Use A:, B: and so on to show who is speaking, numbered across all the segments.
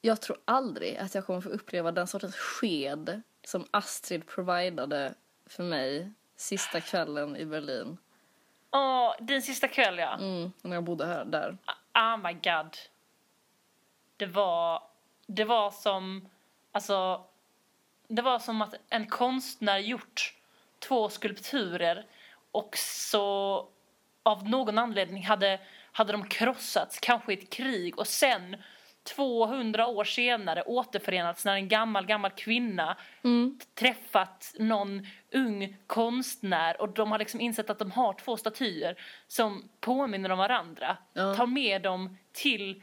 A: Jag tror aldrig att jag kommer få uppleva den sortens sked som Astrid providade för mig sista kvällen i Berlin.
B: Åh, din sista kväll ja.
A: Mm, när jag bodde här, där.
B: Ah my god. Det var, det var som, alltså, det var som att en konstnär gjort två skulpturer och så av någon anledning hade, hade de krossats, kanske i ett krig och sen 200 år senare återförenats när en gammal, gammal kvinna träffat någon ung konstnär och de har liksom insett att de har två statyer som påminner om varandra.
A: Ja.
B: Tar med dem till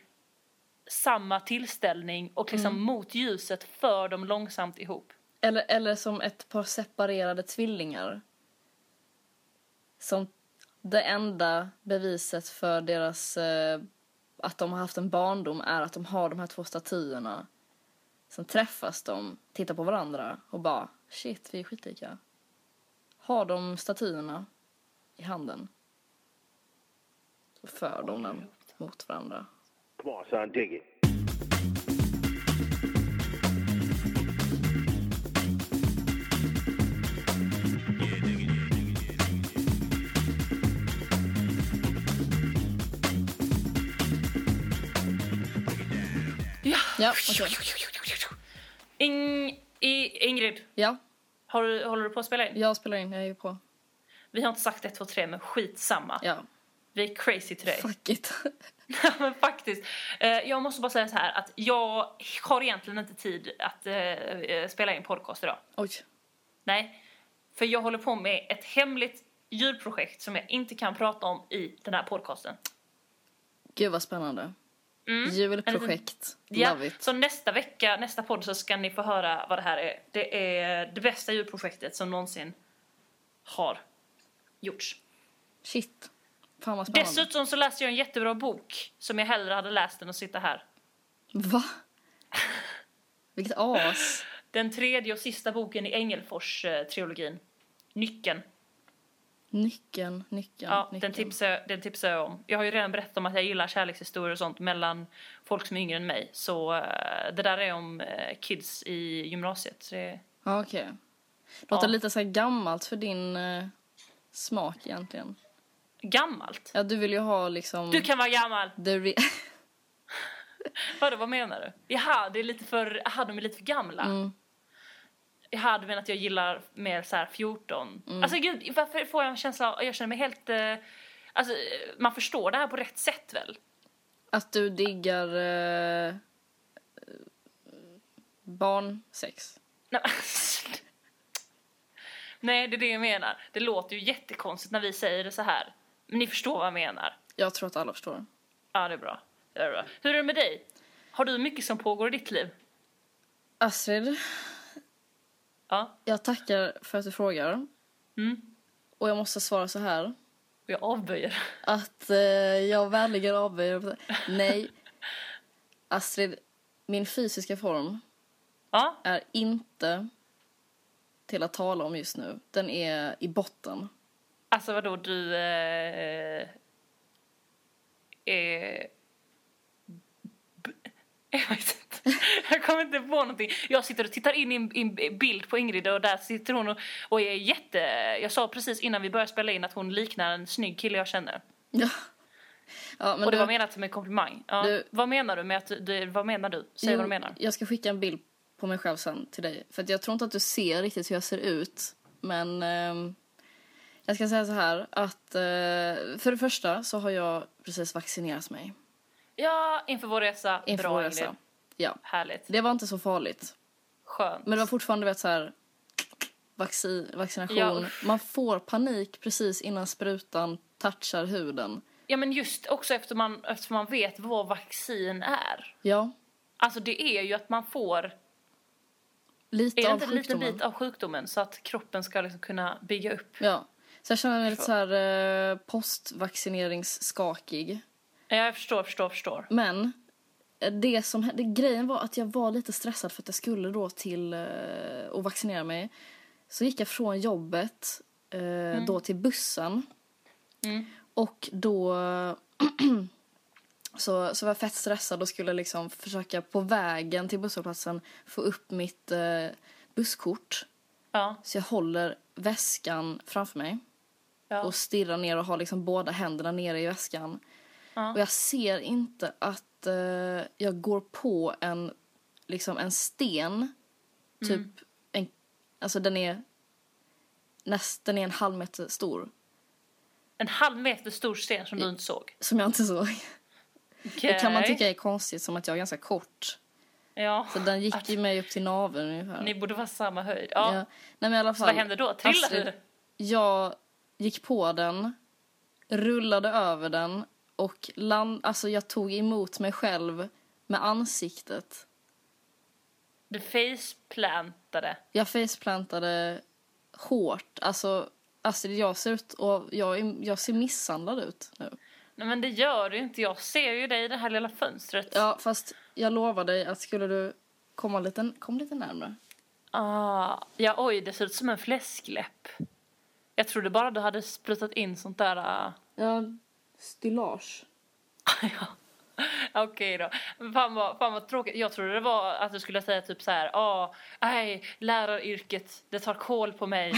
B: samma tillställning och liksom mot ljuset för dem långsamt ihop.
A: Eller, eller som ett par separerade tvillingar. Som det enda beviset för deras... Eh, att de har haft en barndom är att de har de här två statyerna. Sen träffas de, tittar på varandra och bara shit, vi är skitlika. Har de statyerna i handen. Så för de dem mot varandra.
C: Come on, son, dig it.
A: Ja, okej.
B: Ing, i, Ingrid,
A: Ja,
B: har du, håller du på att spela in?
A: jag spelar in, jag är på.
B: Vi har inte sagt 1, 2, 3 men skitsamma.
A: Ja,
B: Vi är crazy today.
A: fuck it.
B: Ja, men faktiskt. Eh, Jag måste bara säga så här att jag har egentligen inte tid att eh, eh, spela in podcast idag.
A: Oj.
B: Nej, för jag håller på med ett hemligt djurprojekt som jag inte kan prata om i den här podcasten.
A: Gud vad spännande.
B: Mm.
A: Julprojekt.
B: Ja,
A: Love it.
B: så nästa vecka, nästa podd så ska ni få höra vad det här är. Det är det bästa djurprojektet som någonsin har gjorts.
A: Shit. Fan vad spännande.
B: Dessutom så läste jag en jättebra bok som jag hellre hade läst än att sitta här.
A: Va? Vilket as.
B: Den tredje och sista boken i Engelfors-trilogin. Nyckeln.
A: Nyckeln, nyckeln,
B: Ja,
A: nyckeln.
B: den tipsar, jag- den tipsar jag om. Jag har ju redan berättat om att jag gillar kärlekshistorier och sånt mellan folk som är yngre än mig. Så eh, det där är om eh, kids i gymnasiet. Så det,
A: Ja, okej. Låter
B: Ja.
A: lite så här gammalt för din eh, smak egentligen.
B: gammalt?
A: Ja, du vill ju ha liksom...
B: Du kan vara gammal!
A: the re-
B: Vadå, vad menar du? Jaha, det är lite för, aha, de är lite för gamla.
A: Mm.
B: Jaha, du menar att jag gillar mer så här 14? Alltså gud, varför får jag en känsla av, jag känner mig helt... Eh, alltså, eh, man förstår det här på rätt sätt väl?
A: Att du diggar eh, barnsex.
B: Nej, men- Nej, det är det jag menar. Det låter ju jättekonstigt när vi säger det så här. Men ni förstår vad jag menar.
A: Jag tror att alla förstår.
B: Ja, det är bra. Det är bra. Hur är det med dig? Har du mycket som pågår i ditt liv?
A: Astrid,
B: Ja.
A: jag tackar för att du frågar.
B: Mm.
A: Och jag måste svara så här.
B: Och jag avböjer.
A: Att eh, jag vänligen avböjer. Nej. Astrid, min fysiska form
B: Ja,
A: är inte till att tala om just nu. Den är i botten.
B: alltså vadå, du... Eh, eh, b- jag vet inte. Jag kommer inte på någonting. Jag sitter och tittar in i en, i en bild på Ingrid och där sitter hon och, och är jätte... Jag sa precis innan vi började spela in att hon liknar en snygg kille jag känner.
A: Ja. Ja, men
B: och det
A: du-
B: var menat som en komplimang. Ja.
A: Du-
B: vad menar du med att du- du, vad menar du? Säg vad du
A: Jo,
B: menar.
A: Jag ska skicka en bild på mig själv sen till dig. För att jag tror inte att du ser riktigt hur jag ser ut. Men ehm, jag ska säga så här att eh, för det första så har jag precis vaccinerat mig
B: Ja, inför vår resa.
A: inför
B: Bra
A: vår
B: Ingrid.
A: resa. Ja.
B: Härligt.
A: Det var inte så farligt.
B: Skönt.
A: Men det var fortfarande vet, så här, vaccin, vaccination.
B: Ja.
A: Man får panik precis innan sprutan touchar huden.
B: Ja men just också eftersom man, eftersom man vet vad vaccin är.
A: Ja,
B: Alltså det är ju att man får,
A: lite
B: är det
A: av
B: inte en liten
A: sjukdomen.
B: bit av sjukdomen så att kroppen ska liksom kunna bygga upp.
A: Ja. Så jag känner mig lite så här eh, postvaccineringsskakig.
B: Ja, Jag förstår, förstår, förstår.
A: Men eh, det som hände, grejen var att jag var lite stressad för att jag skulle då till eh, och vaccinera mig. Så gick jag från jobbet eh, då till bussen.
B: Mm.
A: Och då så, så var jag fett stressad och skulle liksom försöka på vägen till busshållplatsen få upp mitt eh, busskort.
B: Ja,
A: Så jag håller väskan framför mig
B: ja,
A: och stirrar ner och har liksom båda händerna nere i väskan.
B: Ja.
A: Och jag ser inte att eh, jag går på en, liksom en sten.
B: Mm.
A: Typ en, alltså den är, näst, den är en halv meter stor.
B: En halv meter stor sten som du inte såg.
A: Som jag inte såg. Det kan man
B: Okej.
A: tycka är konstigt som att jag är ganska kort.
B: Ja,
A: Så den gick
B: Att-
A: ju mig upp till naveln ungefär.
B: ni borde vara samma höjd. Ja.
A: Ja. Nej, men i alla
B: Så
A: fall,
B: vad hände då? Trillade
A: Astrid-
B: du?
A: Jag gick på den, rullade över den och land, alltså jag tog emot mig själv med ansiktet.
B: Du faceplantade.
A: Jag faceplantade hårt. Alltså, Astrid, jag ser ut och jag, är- jag ser misshandlad ut nu.
B: Nej men det gör du ju inte. Jag ser ju dig i det här lilla fönstret.
A: Ja, fast jag lovar dig att skulle du komma lite, kom lite närmare.
B: Ah, ja, oj, det ser ut som en fläskläpp. Jag trodde bara du hade sprutat in sånt där... ah.
A: Ja, stylage.
B: ja. Okej då. Fan vad, fan vad tråkigt. Jag trodde det var att du skulle säga typ så här... Ah, nej, läraryrket, det tar kål på mig.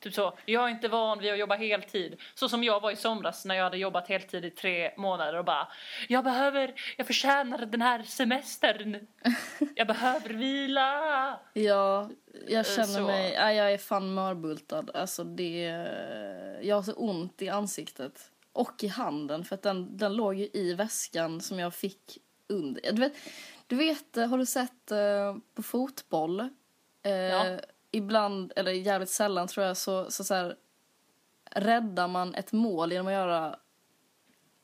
B: typ så. Jag är inte van vid att jobba heltid. Så som jag var i somras när jag hade jobbat heltid i tre månader och bara... Jag behöver... Jag förtjänar den här semestern. jag behöver vila.
A: Ja, jag känner
B: Eh, så.
A: mig... Ja, jag är fan mörbultad. Alltså, det, jag har så ont i ansiktet och i handen för att den, den låg ju i väskan som jag fick under. Du vet, du vet eh, har du sett eh, på fotboll? Eh,
B: Ja.
A: Ibland, eller jävligt sällan tror jag, så, så, så här, räddar man ett mål genom att göra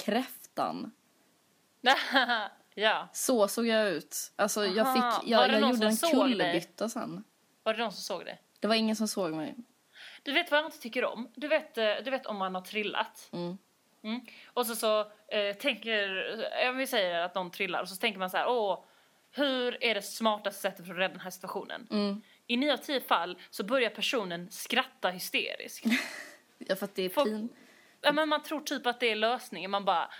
A: kräftan.
B: ja.
A: Så såg jag ut. Alltså, jag,
B: Aha,
A: fick, jag,
B: var det
A: jag
B: någon
A: gjorde en
B: som såg dig?
A: kullerbytta sen.
B: Var det någon som såg det?
A: Det var ingen som såg mig.
B: Du vet vad jag inte tycker om? Du vet, eh, du vet om man har trillat.
A: Mm.
B: Mm. Och så, så eh, tänker, eh, om vi säger att någon trillar och så tänker man så här, åh, hur är det smartaste sättet för att rädda den här situationen?
A: Mm.
B: I 9 av 10 fall så börjar personen skratta hysteriskt.
A: Ja, för att det är
B: Folk-
A: pin.
B: ja, men man tror typ att det är lösningen. Man bara,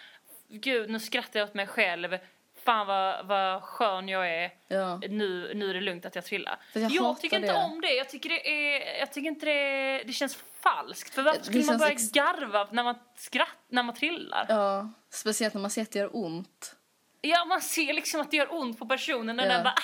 B: gud nu skrattar jag åt mig själv. Fan vad, vad skön jag är.
A: Ja.
B: Nu, nu är det lugnt att jag trillar.
A: För jag
B: Jag,
A: hatar
B: tycker inte
A: det.
B: om det. Jag tycker, det är, jag tycker inte det, det känns falskt. För varför
A: Det
B: skulle man
A: känns
B: börja
A: ex-
B: garva när man, skratt, när man trillar? Ja.
A: Ja, speciellt när man ser att det gör ont.
B: man ser liksom att det gör ont på personen och
A: Ja.
B: den bara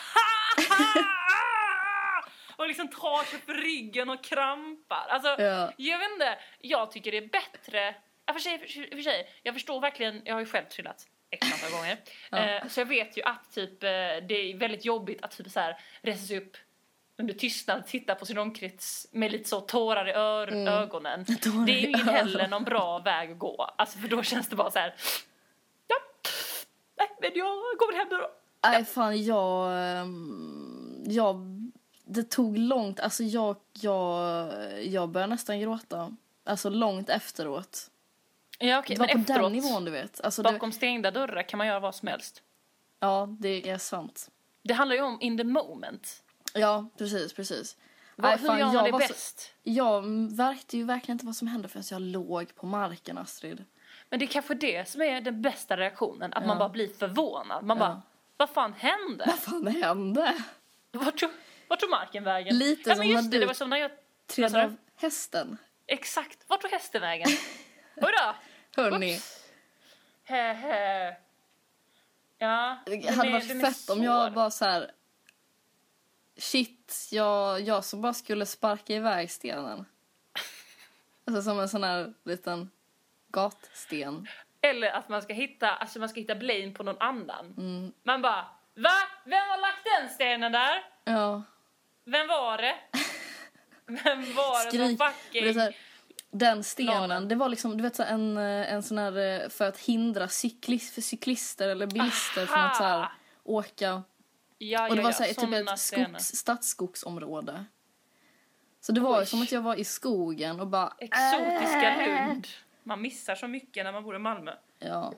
B: "Ah!" och liksom tar sig på ryggen och krampar. Alltså,
A: Ja.
B: jag vet inte. Jag tycker det är bättre. Ja, för sig, för, sig- för sig, jag förstår verkligen. Jag har ju själv trillat x antal gånger. Eh, så jag vet ju att typ, eh, det är väldigt jobbigt att typ så här resa sig upp under tystnad, titta på sin omkrets med lite så tårar i ör-
A: Mm.
B: ögonen.
A: Tårar
B: det är ju
A: i
B: ingen heller
A: öronen.
B: någon bra väg att gå. Alltså, för då känns det bara så här. Ja, nej, men jag går väl hem nu då.
A: Nej, fan, jag... ehm, jag det tog långt. Alltså, jag, jag, jag började nästan gråta. Alltså, långt efteråt.
B: Ja, okej,
A: Det var på
B: men efteråt,
A: den nivån, du vet. Alltså, det,
B: bakom stängda dörrar kan man göra vad som helst.
A: ja, det är sant.
B: Det handlar ju om in the moment.
A: Ja, precis, precis.
B: Vad,
A: Nej,
B: hur
A: fan,
B: gör man det
A: var så-
B: bäst?
A: Jag märkte ju verkligen inte vad som hände förrän jag låg på marken, Astrid.
B: Men det är kanske det som är den bästa reaktionen, att man
A: Ja.
B: bara blir förvånad. Man
A: Ja.
B: bara, vad fan hände?
A: Vad fan hände?
B: Vart tog, vart tog marken vägen?
A: Lite
B: ja,
A: som
B: men just
A: när
B: det,
A: du-
B: det var som när jag... Vad sa
A: Tredje
B: du?
A: av hästen.
B: Exakt, vart tog hästen vägen? Hurra!
A: Hörni,
B: Oops. He, he. Ja,
A: Det
B: den
A: hade
B: är-
A: varit
B: den är
A: fett om jag
B: svår.
A: bara så här... Shit, jag, jag som bara skulle sparka iväg stenen. Alltså som en sån här liten gatsten.
B: Eller att man ska hitta, alltså man ska hitta blame på någon annan.
A: Mm.
B: Man bara, va? Vem har lagt den stenen där?
A: Ja,
B: Vem var det? Vem var det som
A: skrik. Men det är
B: fucking...
A: så här, den stenen,
B: Planen.
A: det var liksom du vet, så här, en, eh, en sån här eh, för att hindra cyklis, för cyklister eller bilister från att så här,
B: Aha.
A: åka.
B: Ja,
A: Och det
B: ja,
A: var
B: ja,
A: så här, typ
B: såna
A: ett
B: scener.
A: skogs, stadsskogsområde. Så det var ju
B: Oj.
A: som att jag var i skogen och bara...
B: Exotiska
A: "Äh."
B: Lund. Man missar så mycket när man bor i Malmö.
A: Ja.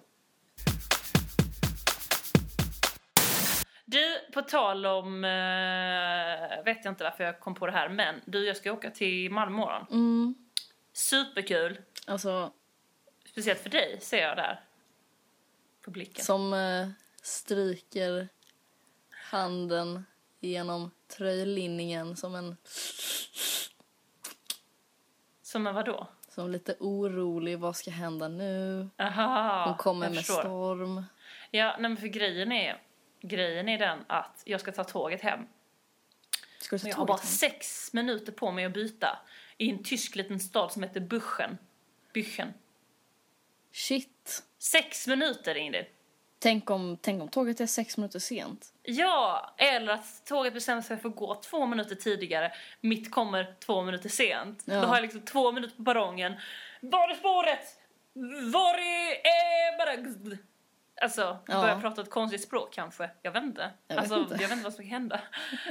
B: Du, på tal om... eh, vet jag inte varför jag kom på det här, men du, jag ska åka till Malmö imorgon.
A: Mm.
B: Superkul!
A: Alltså,
B: Speciellt för dig, ser jag där. publiken.
A: Som eh, stryker handen genom tröjlinningen som en
B: Som en vadå?
A: som lite orolig. Vad ska hända nu?
B: Aha,
A: Hon kommer
B: jag
A: med
B: förstår.
A: storm.
B: Ja, nej, men för grejen är, grejen är den att jag ska ta tåget hem.
A: Ska du
B: Men
A: ta
B: jag har
A: tåget
B: bara
A: hem?
B: sex minuter på mig att byta i en tysk liten stad som heter Büchen. Büchen.
A: Shit.
B: Sex minuter, Ingrid!
A: Tänk om, tänk om tåget är sex minuter sent.
B: Ja, eller att tåget bestämmer sig för att gå två minuter tidigare. Mitt kommer två minuter sent.
A: Ja.
B: Då har jag liksom två minuter på perrongen. Var är spåret? Var är... Eh, bara... Alltså,
A: Ja.
B: börja prata ett konstigt språk kanske. Jag vet inte.
A: Jag vet
B: alltså,
A: inte.
B: jag vet inte vad som kan hända.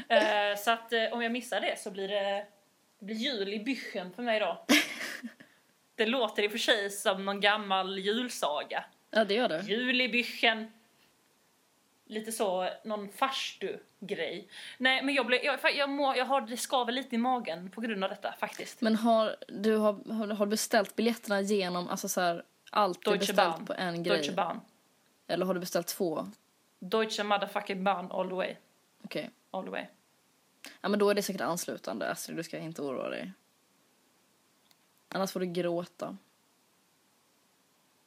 B: Eh, så att eh, om jag missar det så blir det, det blir jul i byschen för mig då. det låter i och för sig som någon gammal julsaga.
A: Ja, det gör det.
B: Jul i byschen. Lite så, någon farstu-grej. Nej, men jag, blev, jag, jag, må, jag har det skaver lite i magen på grund av detta faktiskt.
A: Men har du har, har, har du beställt biljetterna genom, alltså så här, alltid
B: Deutsche
A: beställt
B: Bahn.
A: på en grej?
B: Deutsche Bahn.
A: Eller har du beställt två?
B: Deutsche motherfucking Bahn all the way.
A: Okej.
B: All the way.
A: Ja, men då är det säkert anslutande, Astrid. Du ska inte oroa dig. Annars får du gråta.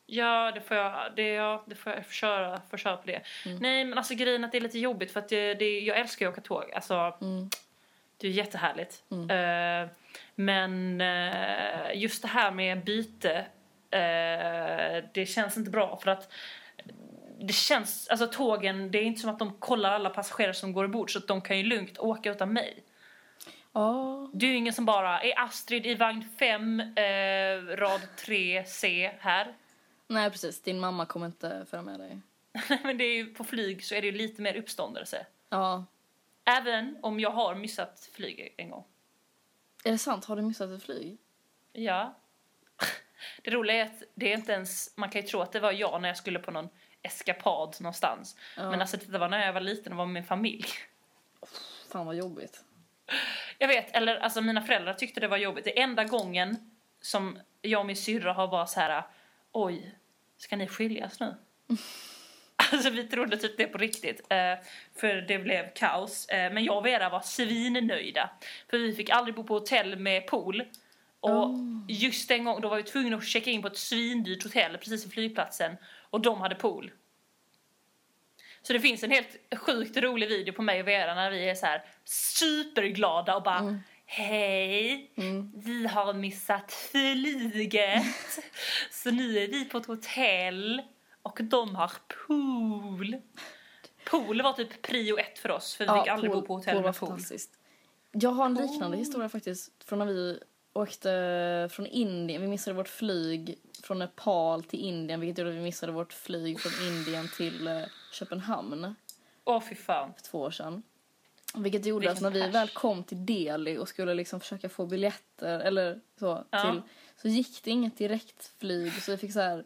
B: Ja, det får jag, det, ja, det får jag försöka, försöka på det. Nej, men alltså grejen är att det är lite jobbigt för att det, det, jag älskar ju att åka tåg. Alltså, Det är jättehärligt. Eh, men eh, just det här med byte, eh, det känns inte bra för att det känns, alltså tågen, det är inte som att de kollar alla passagerare som går ombord så att de kan ju lugnt åka utan mig.
A: Ja.
B: Det är ju ingen som bara, är Astrid i vagn 5, eh, rad 3C här?
A: Nej, precis. Din mamma kommer inte föra med dig.
B: Nej, men det är ju, på flyg så är det ju lite mer uppståndelse.
A: Ja.
B: Även om jag har missat flyg en gång.
A: Är det sant? Har du missat ett flyg?
B: Ja. Det roliga är att det är inte ens, man kan ju tro att det var jag när jag skulle på någon eskapad någonstans.
A: Ja.
B: Men alltså det var när jag var liten och var med min familj.
A: Fan, vad jobbigt.
B: Jag vet, eller alltså mina föräldrar tyckte det var jobbigt. Det enda gången som jag och min syrra har varit så här, oj, ska ni skiljas nu? Alltså vi trodde typ det på riktigt, eh, för det blev kaos. Eh, Men jag och Vera var svinnöjda, för vi fick aldrig bo på hotell med pool. Och
A: Ah.
B: just den gången, då var vi tvungna att checka in på ett svindyrt hotell precis vid flygplatsen, och de hade pool. Så det finns en helt sjukt rolig video på mig och Vera när vi är så här superglada och bara
A: Mm.
B: Hej! Vi har missat flyget. så nu är vi på ett hotell och de har pool. Pool var typ prio ett för oss för vi fick aldrig bo på hotell
A: pool var
B: med pool.
A: fantastiskt. Jag har en liknande historia faktiskt från när vi åkte från Indien. Vi missade vårt flyg från Nepal till Indien vilket gjorde att vi missade vårt flyg från Indien till eh, Köpenhamn.
B: Åh fy fan.
A: för två år sedan. Vilket gjorde
B: Vilken
A: att när vi
B: pärs.
A: väl kom till Delhi och skulle liksom försöka få biljetter eller så
B: Ja.
A: till så gick det inget direktflyg så vi fick så här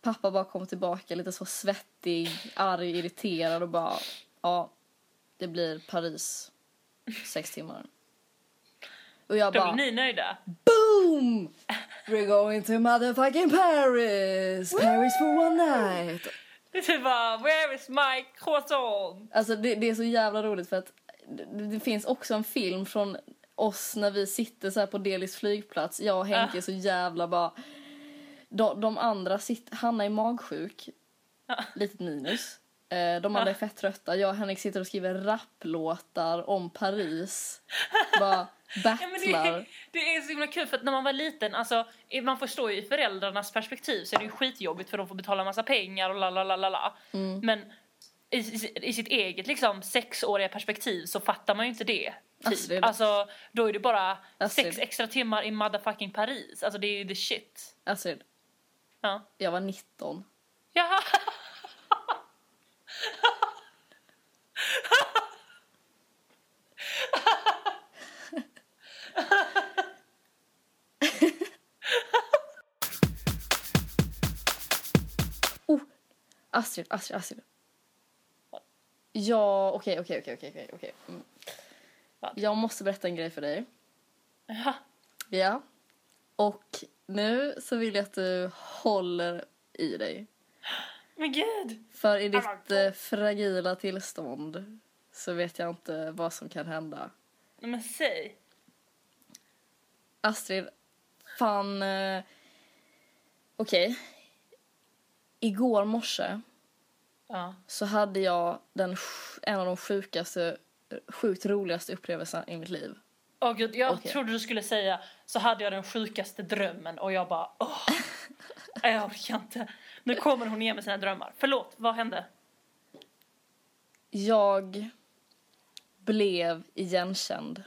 A: pappa bara kom tillbaka lite så svettig, arg, irriterad och bara ja, det blir Paris sex timmar. Och jag
B: Då
A: bara
B: blev ni nöjda?
A: boom! We're going to motherfucking Paris! Paris for one night!
B: Det var where is my croissant?
A: Alltså det, det är så jävla roligt för att det, det finns också en film från oss när vi sitter så här på Delis flygplats. Jag och Henke är så jävla bara... De, de andra sitter... Hanna är magsjuk. Litet minus. Eh, De andra är fett trötta. Jag och Henrik sitter och skriver rapplåtar om Paris. Bara
B: Ja, men det,
A: battlar.
B: är, det är så himla kul för att när man var liten, alltså, man förstår ju i föräldrarnas perspektiv så är det ju skitjobbigt för de får betala massa pengar och la la la la la.
A: Mm.
B: Men i, i, i sitt eget liksom sexåriga perspektiv så fattar man ju inte det. Typ.
A: Alltså, det är-
B: Alltså då är det bara
A: Alltså,
B: sex
A: det-
B: extra timmar i motherfucking Paris. Alltså det är ju the shit.
A: Alltså,
B: Ja.
A: jag var 19.
B: Jaha.
A: Oh, Astrid, Astrid, Astrid. Ja, okej, okej, okej, okej, okej, okej. Mm.
B: Vad?
A: Jag måste berätta en grej för dig.
B: Jaha.
A: Ja. Och nu så vill jag att du håller i dig.
B: Men gud!
A: För i ditt
B: Alltså.
A: eh, fragila tillstånd så vet jag inte vad som kan hända.
B: Nej, Men säg.
A: Astrid, fan... Eh, Okej. Igår morse
B: Ja.
A: så hade jag den, sj- en av de sjukaste, sjukt roligaste upplevelserna i mitt liv.
B: Åh gud, jag
A: Okej.
B: trodde du skulle säga så hade jag den sjukaste drömmen och jag bara åh, nej, jag orkar inte. Nu kommer hon igen med sina drömmar. Förlåt, vad hände?
A: Jag blev igenkänd.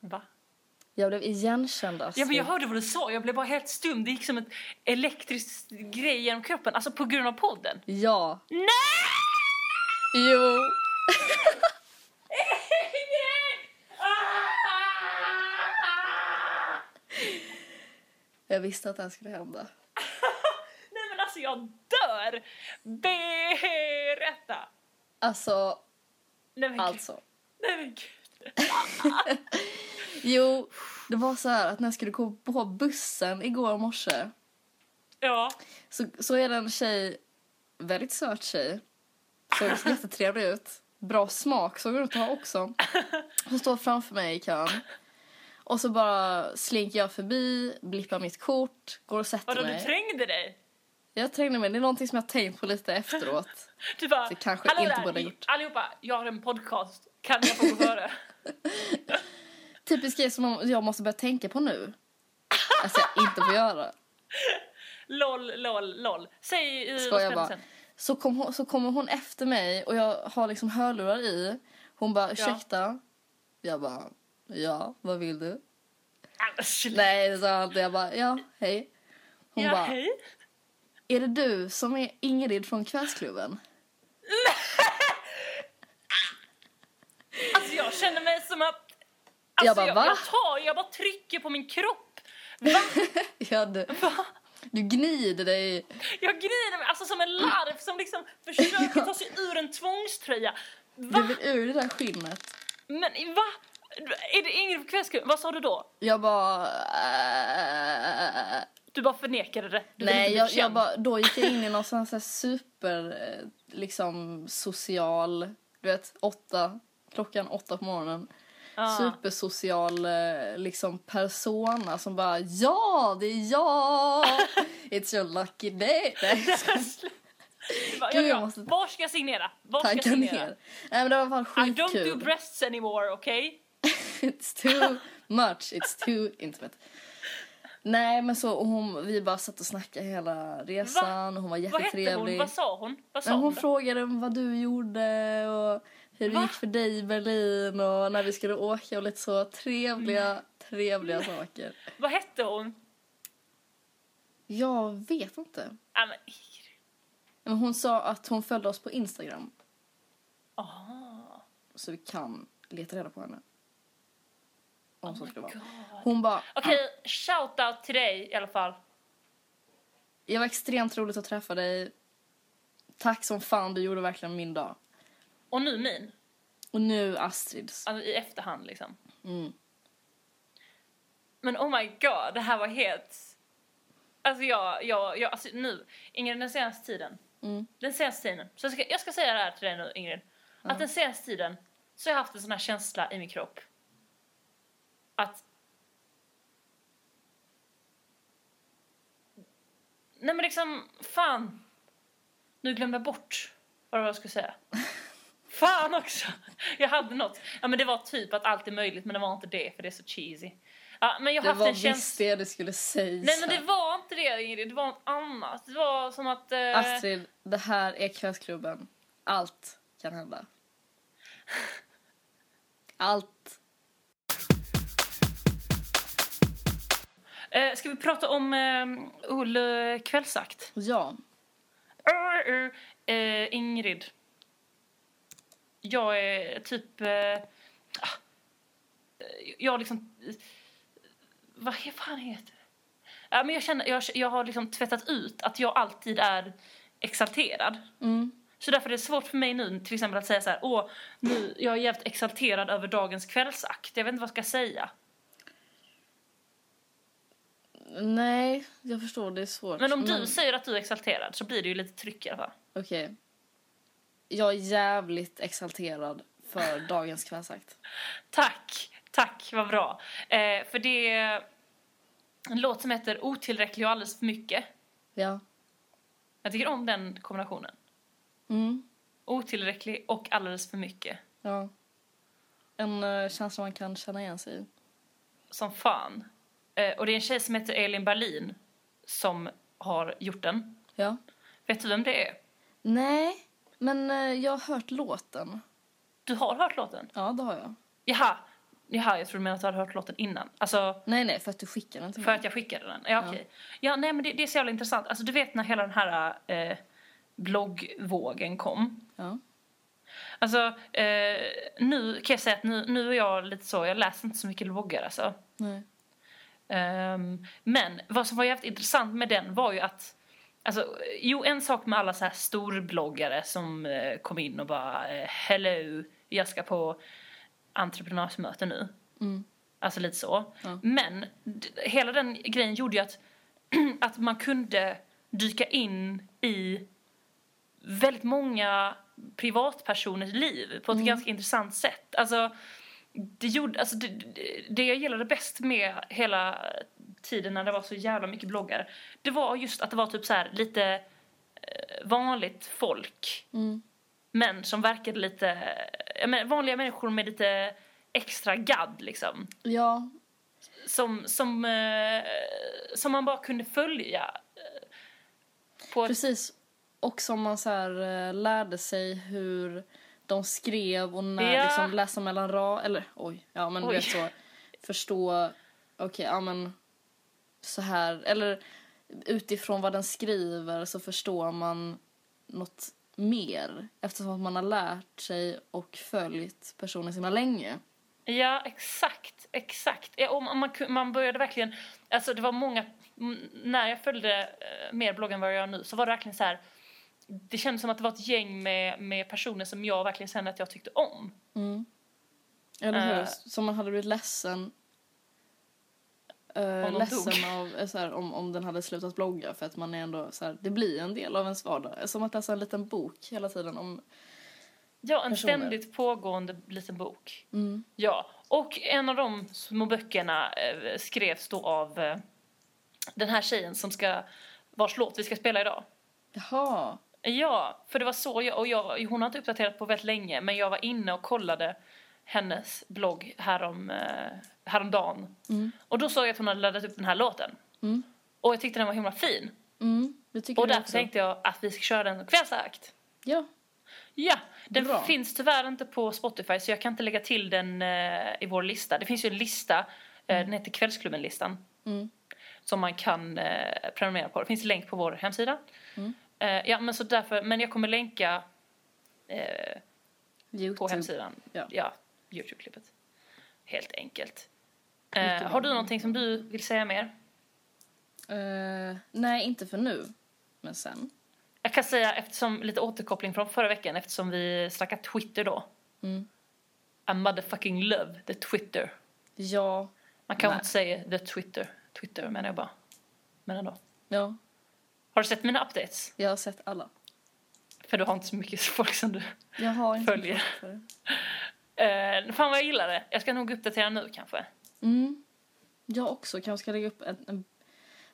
B: Va?
A: Jag blev igenkänd, Astrid.
B: Ja, men jag hörde vad du sa, jag blev bara helt stum. Det gick som ett elektriskt grej genom kroppen, alltså på grund av podden.
A: Ja.
B: Nej!
A: Jo. Jag visste att det här skulle hända.
B: Nej men alltså jag dör! Berätta!
A: Alltså,
B: Nej men gud.
A: alltså.
B: Nej, men gud.
A: Jo, det var så här att när jag skulle gå på bussen igår morse
B: Ja.
A: så, så är det en tjej, väldigt söt tjej, såg jättetrevlig ut, bra smak såg hon ut att ha också. Hon står framför mig i kön. Och så bara slinker jag förbi, blippar mitt kort, går och sätter
B: Vadå du
A: mig.
B: trängde dig?
A: Jag trängde mig, det är någonting som jag har tänkt på lite efteråt.
B: Du bara,
A: Det kanske
B: "Hallå
A: inte
B: där,
A: borde
B: i-
A: ha gjort."
B: Allihopa, jag har en podcast. Kan jag få gå före?
A: Typisk grej som jag måste börja tänka på nu. Alltså jag inte får göra.
B: LOL, LOL, LOL. Säg i
A: Skojar bara. Så, kom hon, så kommer hon efter mig och jag har liksom hörlurar i. Hon bara ursäkta. Jag bara ja, vad vill du?
B: Äh, Nej.
A: Nej, det sa jag inte. Jag bara ja, hej. Hon
B: alltså, Ja,
A: bara
B: hej.
A: är det du som är Ingrid från kvällsklubben?
B: Alltså jag känner mig som att... Alltså,
A: Jag bara,
B: jag,
A: "Va?"
B: jag tar, jag bara trycker på min kropp. Va?
A: Ja, du, du gnider dig.
B: Jag gnider mig, alltså som en larv som liksom försöker ta sig ur en tvångströja. Va?
A: Du vill ur det där skinnet.
B: Men i- va? Är det Ingrid på kvällsklubben? Vad sa du då?
A: Jag bara... "Äh."
B: Du bara förnekade det. Du ville
A: Nej,
B: inte
A: jag,
B: bli
A: jag
B: känd.
A: bara, då gick jag in i någon sån här super, eh, liksom social, du vet, åtta, klockan åtta på morgonen.
B: Ah.
A: Supersocial eh, liksom persona som bara ja, det är jag! It's your lucky day! Nej, jag ska
B: Du bara,
A: Gud,
B: ja,
A: jag
B: ja.
A: måste-
B: Var ska jag signera? Var ska jag
A: tanka
B: signera?
A: ner. Nej men det var i alla
B: I
A: fall
B: don't do
A: skitkul.
B: breasts anymore, okej?
A: It's too much, it's too intimate. Nej men så och hon, vi bara satt och snackade hela resan och hon var
B: Vad
A: jättetrevlig.
B: hette hon? Vad sa hon? Vad sa
A: Men hon
B: hon?
A: frågade om vad du gjorde och hur det
B: Va?
A: gick för dig i Berlin och när vi skulle åka och lite så trevliga, trevliga saker.
B: Vad hette hon?
A: Jag vet inte.
B: Ja, men Ingrid.
A: Men hon sa att hon följde oss på Instagram
B: Ah.
A: så vi kan leta reda på henne. Om så
B: Oh my
A: skulle vara.
B: God.
A: Hon bara,
B: Okej, shoutout till dig i alla fall.
A: jag var extremt roligt att träffa dig. Tack som fan, du gjorde verkligen min dag.
B: Och nu min.
A: Och nu Astrids.
B: Alltså i efterhand liksom.
A: Mm.
B: Men oh my god, det här var helt... Alltså jag, jag, jag alltså nu, Ingrid den senaste tiden.
A: Mm.
B: Den senaste tiden. Så jag ska, jag ska säga det här till dig nu Ingrid. Att den senaste tiden så har jag haft en sån här känsla i min kropp. Att... Nej men liksom, fan. Nu glömde jag bort vad det var jag skulle säga. Fan också! Jag hade något. Ja men det var typ att allt är möjligt men det var inte det för det är så cheesy. Ja men jag har
A: Det
B: haft
A: var
B: en känsla...
A: visst det du skulle säga.
B: Nej men det var inte det Ingrid, det var något annat. Det var som att... Eh...
A: Astrid, det här är Kvällsklubben. Allt kan hända. Allt.
B: Eh, ska vi prata om eh, Olle kvällsakt?
A: Ja.
B: Ur, ur. Eh, Ingrid. Jag är typ... Eh, ah, jag liksom... eh, Vad he- fan heter det? Ja, men jag, känner, jag, jag har liksom tvättat ut att jag alltid är exalterad.
A: Mm.
B: Så därför är det svårt för mig nu till exempel att säga så här, åh, nu, jag är jävligt exalterad över dagens kvällsakt. Jag vet inte vad jag ska säga.
A: Nej, jag förstår. Det är svårt.
B: Men om du säger att du är exalterad så blir det ju lite tryck i alla fall.
A: Okej. Jag är jävligt exalterad för dagens kvällsakt.
B: Tack, tack, vad bra. Eh, för det är en låt som heter Otillräcklig och alldeles för mycket.
A: Ja.
B: Jag tycker om den kombinationen.
A: Mm.
B: Otillräcklig och alldeles för mycket.
A: Ja. En eh, känsla man kan känna igen sig i.
B: Som fan. Eh, och det är en tjej som heter Elin Berlin som har gjort den.
A: Ja.
B: Vet du vem det är?
A: Nej, men eh, jag har hört låten.
B: Du har hört låten?
A: Ja, det har jag.
B: Jaha, Jaha jag trodde du menade att du hade hört låten innan. Alltså,
A: Nej, nej, för att du skickade den till
B: För
A: mig.
B: att jag skickade den? Ja, okej. Ja, nej men det, det är så jävla intressant. Alltså du vet när hela den här eh, bloggvågen kom.
A: Ja.
B: Alltså eh, nu kan jag säga att nu, nu är jag lite så, jag läser inte så mycket bloggar alltså.
A: Nej.
B: Ehm, men vad som var jävligt intressant med den var ju att Alltså, jo, en sak med alla så här storbloggare som eh, kom in och bara eh, hello, jag ska på entreprenörsmöte nu.
A: Mm.
B: Alltså lite så.
A: Ja.
B: Men d- hela den grejen gjorde ju att, att man kunde dyka in i väldigt många privatpersoners liv på ett
A: Mm.
B: ganska intressant sätt. Alltså, det, gjorde, alltså det, det- det jag gillade bäst med hela tiden när det var så jävla mycket bloggar det var just att det var typ så här lite eh, vanligt folk
A: Mm.
B: men som verkade lite ja, men vanliga människor med lite extra gadd liksom
A: Ja,
B: som, som, eh, som man bara kunde följa. eh, På ett,
A: precis. Och som man så här, eh, lärde sig hur de skrev och när
B: Ja.
A: liksom läsa mellan ra... Eller oj, ja men du
B: Oj.
A: vet så. Förstå, okej, ja men så här. Eller utifrån vad den skriver så förstår man något mer eftersom att man har lärt sig och följt personen så himla länge.
B: ja, exakt. exakt. Ja, och man, man, kun- man började verkligen... Alltså det var många... m, När jag följde eh, mer bloggen än vad jag gör nu så var det verkligen så här... Det kändes som att det var ett gäng med, med personer som jag verkligen kände att jag tyckte om.
A: Mm. Eller hur?
B: Eh.
A: Som man hade blivit ledsen eh,
B: Om de dog.
A: ledsen av, eh, så här, om, om den hade slutat blogga för att man är ändå så här, det blir en del av ens vardag. Eh, Som att läsa en liten bok hela tiden om...
B: Ja, en
A: Personer.
B: ständigt pågående liten bok.
A: Mm.
B: Ja, och en av de små böckerna eh, skrevs då av eh, den här tjejen som ska, vars låt vi ska spela idag.
A: Jaha.
B: Ja, för det var så jag, och jag, hon har inte uppdaterat på väldigt länge men jag var inne och kollade hennes blogg härom, eh, häromdagen.
A: Mm.
B: Och då såg jag att hon hade laddat upp den här låten.
A: Mm.
B: Och jag tyckte den var himla fin.
A: Mm. Det tycker
B: Och
A: jag
B: därför
A: också.
B: tänkte jag att vi ska köra den som kvällsakt.
A: Ja.
B: Ja, den
A: Bra.
B: finns tyvärr inte på Spotify så jag kan inte lägga till den eh, i vår lista. Det finns ju en lista, eh, den heter Kvällsklubben-listan,
A: Mm.
B: som man kan eh, prenumerera på. Det finns länk på vår hemsida.
A: Mm.
B: Eh, ja, men, så därför, men jag kommer länka eh,
A: YouTube.
B: på hemsidan.
A: Ja.
B: Youtube-klippet. Helt enkelt. Eh, har du någonting som du vill säga mer?
A: Eh, nej, inte för nu. Men sen.
B: Jag kan säga eftersom, lite återkoppling från förra veckan eftersom vi snackade Twitter då.
A: Mm.
B: I motherfucking love the Twitter.
A: Ja.
B: Man kan
A: Nej.
B: inte säga the Twitter. Twitter menar jag bara. Men ändå.
A: Ja.
B: Har du sett mina updates?
A: Jag har sett alla.
B: För du har inte så mycket folk som du...
A: Jag har inte
B: Följer.
A: fått för det.
B: Uh, fan vad jag gillar det. Jag ska nog uppdatera nu kanske.
A: Mm. Jag också. Kanske ska lägga upp en, en...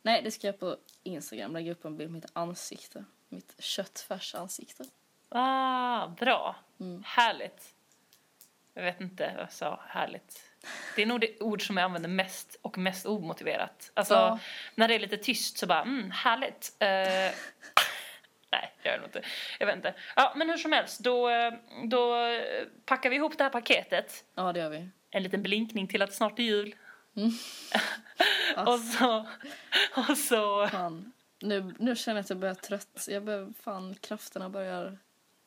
A: Nej, det ska jag på Instagram. Lägga upp en bild på mitt ansikte. Mitt köttfärs ansikte.
B: Ah, bra. Härligt. Jag vet inte vad jag sa. Härligt. Det är nog det ord som jag använder mest och mest omotiverat. Alltså,
A: Ja.
B: när det är lite tyst så bara, mm, härligt. Eh, nej, jag vet inte. Jag vet inte. Ja, men hur som helst, då, eh, då eh, packar vi ihop det här paketet.
A: Ja, det gör vi.
B: en liten blinkning till att snart är jul. och så... Och så
A: Fan. Nu, nu känner jag att jag börjar trött. Jag börjar, fan, krafterna börjar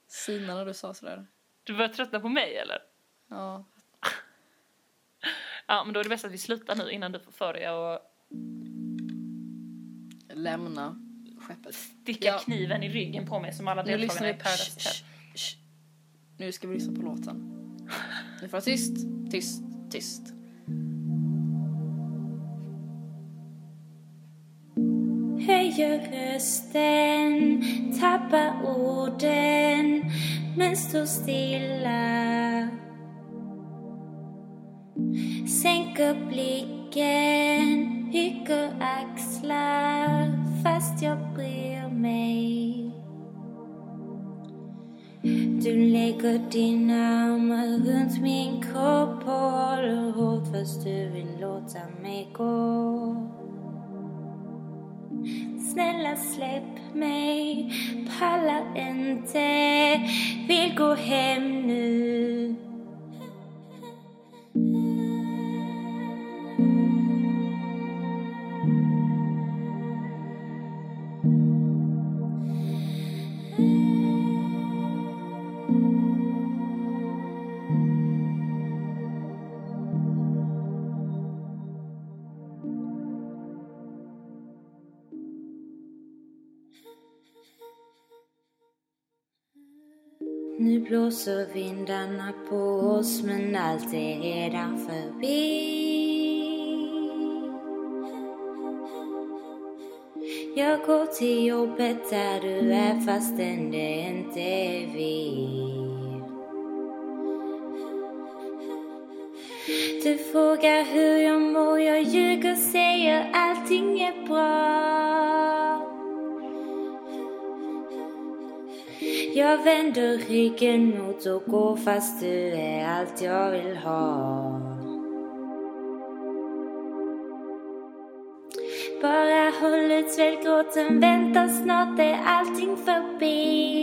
A: sina när du sa sådär.
B: du börjar tröttna på mig, eller?
A: Ja.
B: Ja, men då är det bäst att vi slutar nu innan du får för dig och
A: Lämna skeppet.
B: sticka
A: Ja.
B: kniven i ryggen på mig som alla
A: Nu lyssnar
B: deltagarna i
A: vi...
B: Paradise
A: Shh,
B: Hotel.
A: shh, shh. Nu ska vi lyssna på låten. Nu får det vara tyst, tyst, tyst.
D: Höjer rösten, tappar orden men står stilla. Sänker blicken, rycker axlar fast jag bryr mig. Du lägger dina armar runt min kropp och håller hårt fast du vill låta mig gå. Snälla släpp mig, pallar inte, vill gå hem nu. Nu blåser vindarna på oss men allt är redan förbi. Jag går till jobbet där du är fastän det inte är vi. Du frågar hur jag mår, jag ljuger, säger allting är bra. Jag vänder ryggen mot och går fast du är allt jag vill ha. Bara håll ut, svälj gråten, vänta snart är allting förbi.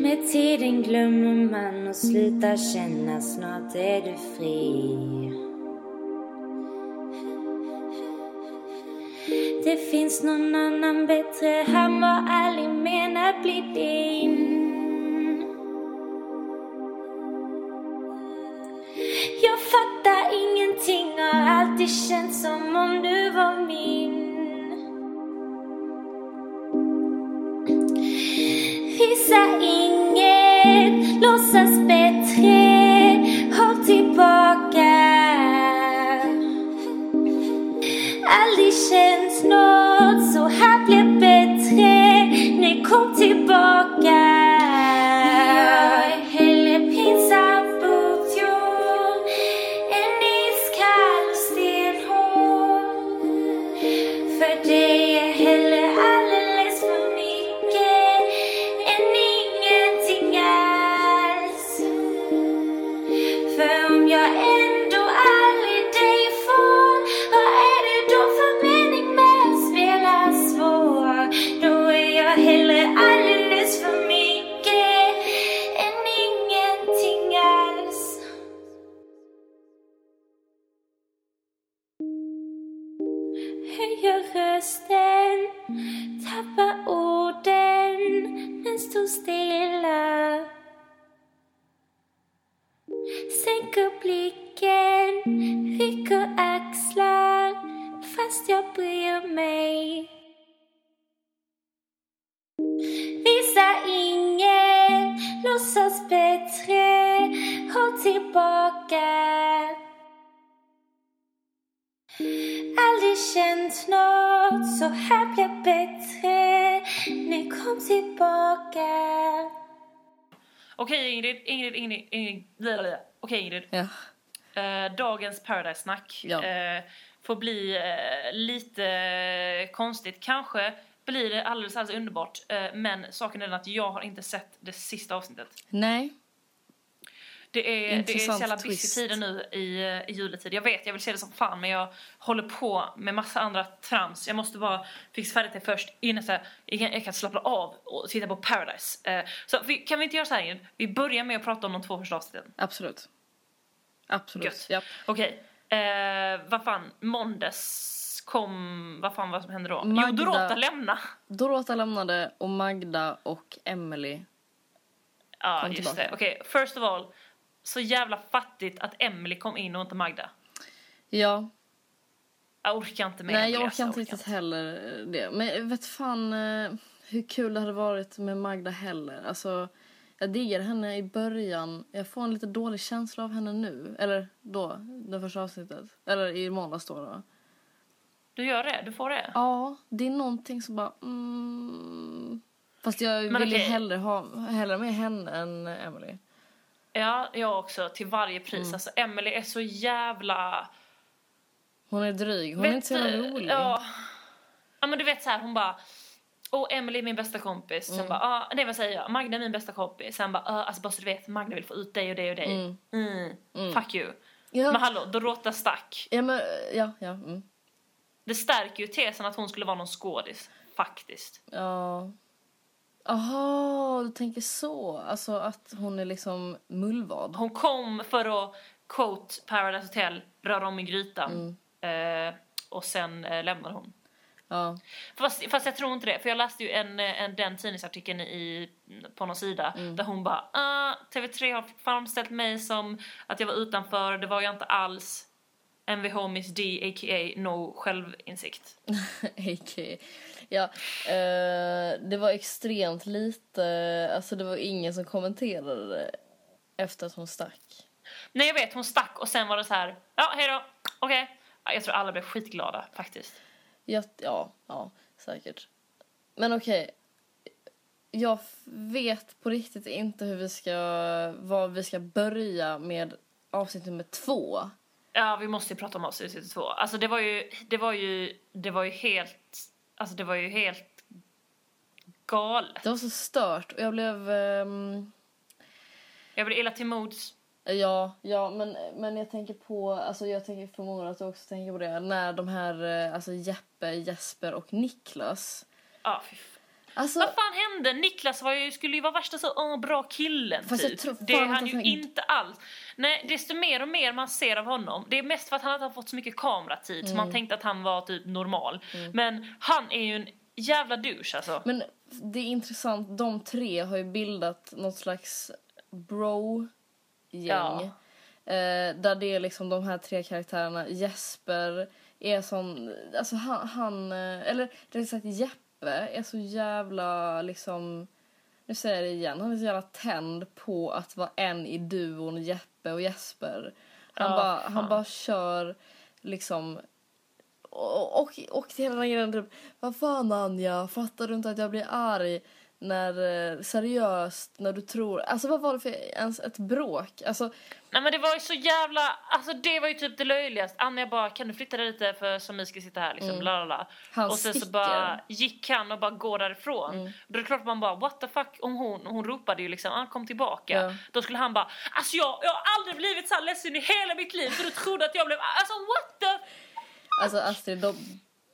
D: Med tiden glömmer man och slutar känna, snart är du fri. Det finns någon annan bättre, han var aldrig menad att bli din. Jag fattar ingenting, har alltid känt som om du var min. Visa inget, låtsas bättre, håll tillbaka aldrig känns nåt så här blev bättre när kom tillbaka. Jag är hellre pinsam mot jord än iskall och stenhård. För dig är hellre alldeles för mycket än ingenting alls. För om jag ändå aldrig dig får, vad är det då för mening med att spela svår? Då är jag hellre alldeles för mycket än ingenting alls. Höjer rösten, tappar orden, men står stilla. Sänker blicken, rycker axlar fast jag bryr mig. Visa inget, låtsas bättre, håll tillbaka. Aldrig känt nåt så här blev bättre, Eh, nu kom tillbaka.
B: Okej Ingrid, Ingrid, Ingrid, Ingrid, blablabla. Okej Ingrid.
A: Ja.
B: Eh, dagens Paradise-snack
A: Ja.
B: eh, får bli eh, lite eh, konstigt. Kanske blir det alldeles, alldeles underbart. Eh, men saken är den att jag har inte sett det sista avsnittet.
A: Nej.
B: Det är, det är så
A: Intressant
B: jävla busy
A: twist.
B: tider nu i, eh, i juletid. Jag vet, jag vill se det som fan men jag håller på med massa andra trams. Jag måste bara fixa färdigt det först innan så här, jag, kan, jag kan slappna av och titta på Paradise. Eh, så vi, kan vi inte göra så här Ingrid? Vi börjar med att prata om de två första avsnitten.
A: Absolut. Absolut.
B: Gött.
A: Ja.
B: Okej. Eh, vad fan, måndags kom... Vad fan vad som hände då?
A: Magda.
B: Jo, Dorota lämna.
A: Dorota lämnade och Magda och Emily.
B: Ja,
A: Kom
B: just
A: tillbaka.
B: det. Okej, first of all. Så jävla fattigt att Emily kom in och inte Magda.
A: Ja.
B: Jag orkar inte med
A: Nej,
B: Emily,
A: jag
B: alltså,
A: orkar inte riktigt heller det. Men jag vet fan eh, hur kul det hade varit med Magda heller. Alltså, jag Jag diggar henne i början. Jag får en lite dålig känsla av henne nu. Eller då, det första avsnittet. Eller i måndags då. då.
B: Du gör det, du får det.
A: Ja, det är någonting som bara... Mm. Fast jag
B: Men
A: vill ju
B: okej.
A: hellre ha hellre med henne än Emily.
B: Ja, jag också. Till varje pris.
A: Mm.
B: Alltså, Emily är så jävla...
A: Hon är dryg. Hon är
B: Vet
A: inte så jävla
B: du-
A: rolig.
B: Ja. ja, men du vet så här, hon bara... Åh, Emily är min bästa kompis.
A: Mm.
B: Sen bara, ah, nej vad säger jag? Magda är min bästa kompis. Sen bara, ah, alltså bara så du vet, Magda vill få ut dig och dig och dig. Mm. Fuck you.
A: Ja.
B: Men hallå, Dorota stack.
A: Ja, men, ja, ja, mm.
B: Det stärker ju tesen att hon skulle vara någon skådis. Faktiskt.
A: ja. Aha, du tänker så. Alltså att hon är liksom mullvad.
B: Hon kom för att quote Paradise Hotel, röra om i grytan.
A: Mm.
B: Eh, och sen eh, lämnade hon.
A: Ja.
B: Fast, fast jag tror inte det, för jag läste ju en, en, den tidningsartikeln i, på någon sida där hon bara ah, TV3 har framställt mig som att jag var utanför, det var jag inte alls. Mvh Miss D a.k.a. No självinsikt.
A: A.k.a. Ja, eh, det var extremt lite, alltså det var ingen som kommenterade det efter att hon stack.
B: Nej jag vet, hon stack och sen var det så här, ja hejdå, okej. Ja, Jag tror alla blev skitglada faktiskt.
A: Ja, ja, ja säkert. Men okej, jag f- vet på riktigt inte hur vi ska, var vi ska börja med avsnitt nummer två.
B: Ja, vi måste ju prata om avsnitt 2. Alltså det var ju, det var ju, det var ju helt, alltså det var ju helt galet.
A: Det var så stört och jag blev... ehm,
B: Jag blev illa till mods.
A: Ja, ja men, men jag tänker på, alltså jag tänker förmodar att du också tänker på det, när de här, eh, alltså Jeppe, Jesper och Niklas.
B: Ja, fy fan.
A: Alltså,
B: Vad fan hände? Niklas var ju, skulle ju vara värsta så åh, bra killen
A: Fast jag
B: typ.
A: tror fan
B: det är
A: att
B: han
A: han
B: ju
A: tänkt-
B: inte alls. Nej, desto mer och mer man ser av honom. Det är mest för att han inte har fått så mycket kameratid så
A: Mm.
B: man tänkte att han var typ normal. Men han är ju en jävla douche alltså.
A: men det är intressant, de tre har ju bildat något slags bro-gäng.
B: Ja.
A: Eh, där det är liksom de här tre karaktärerna, Jesper är sån, alltså han, han eh, eller rättare sagt Jeppe är så jävla liksom, nu säger jag det igen, han är så jävla tänd på att vara en i duon Jeppe och Jesper. Han,
B: Ja,
A: bara,
B: fan.
A: han bara kör liksom och, och, och till hela den här grejen typ, vad fan Anja, fattar du inte att jag blir arg när, eh, seriöst, när du tror, alltså vad var det för ens ett bråk? Alltså
B: Nej men det var ju så jävla, alltså det var ju typ det löjligaste. Anja bara kan du flytta dig lite för som vi ska sitta här liksom, bla bla bla.
A: Han
B: och sen så
A: Mm. sticker. Mm.
B: bara gick han och bara går därifrån. Då är det klart man bara what the fuck om hon, hon ropade ju liksom han kom tillbaka.
A: Ja.
B: Då skulle han bara alltså jag, jag har aldrig blivit så här ledsen i hela mitt liv för du trodde att jag blev, alltså what the
A: Alltså Astrid, de,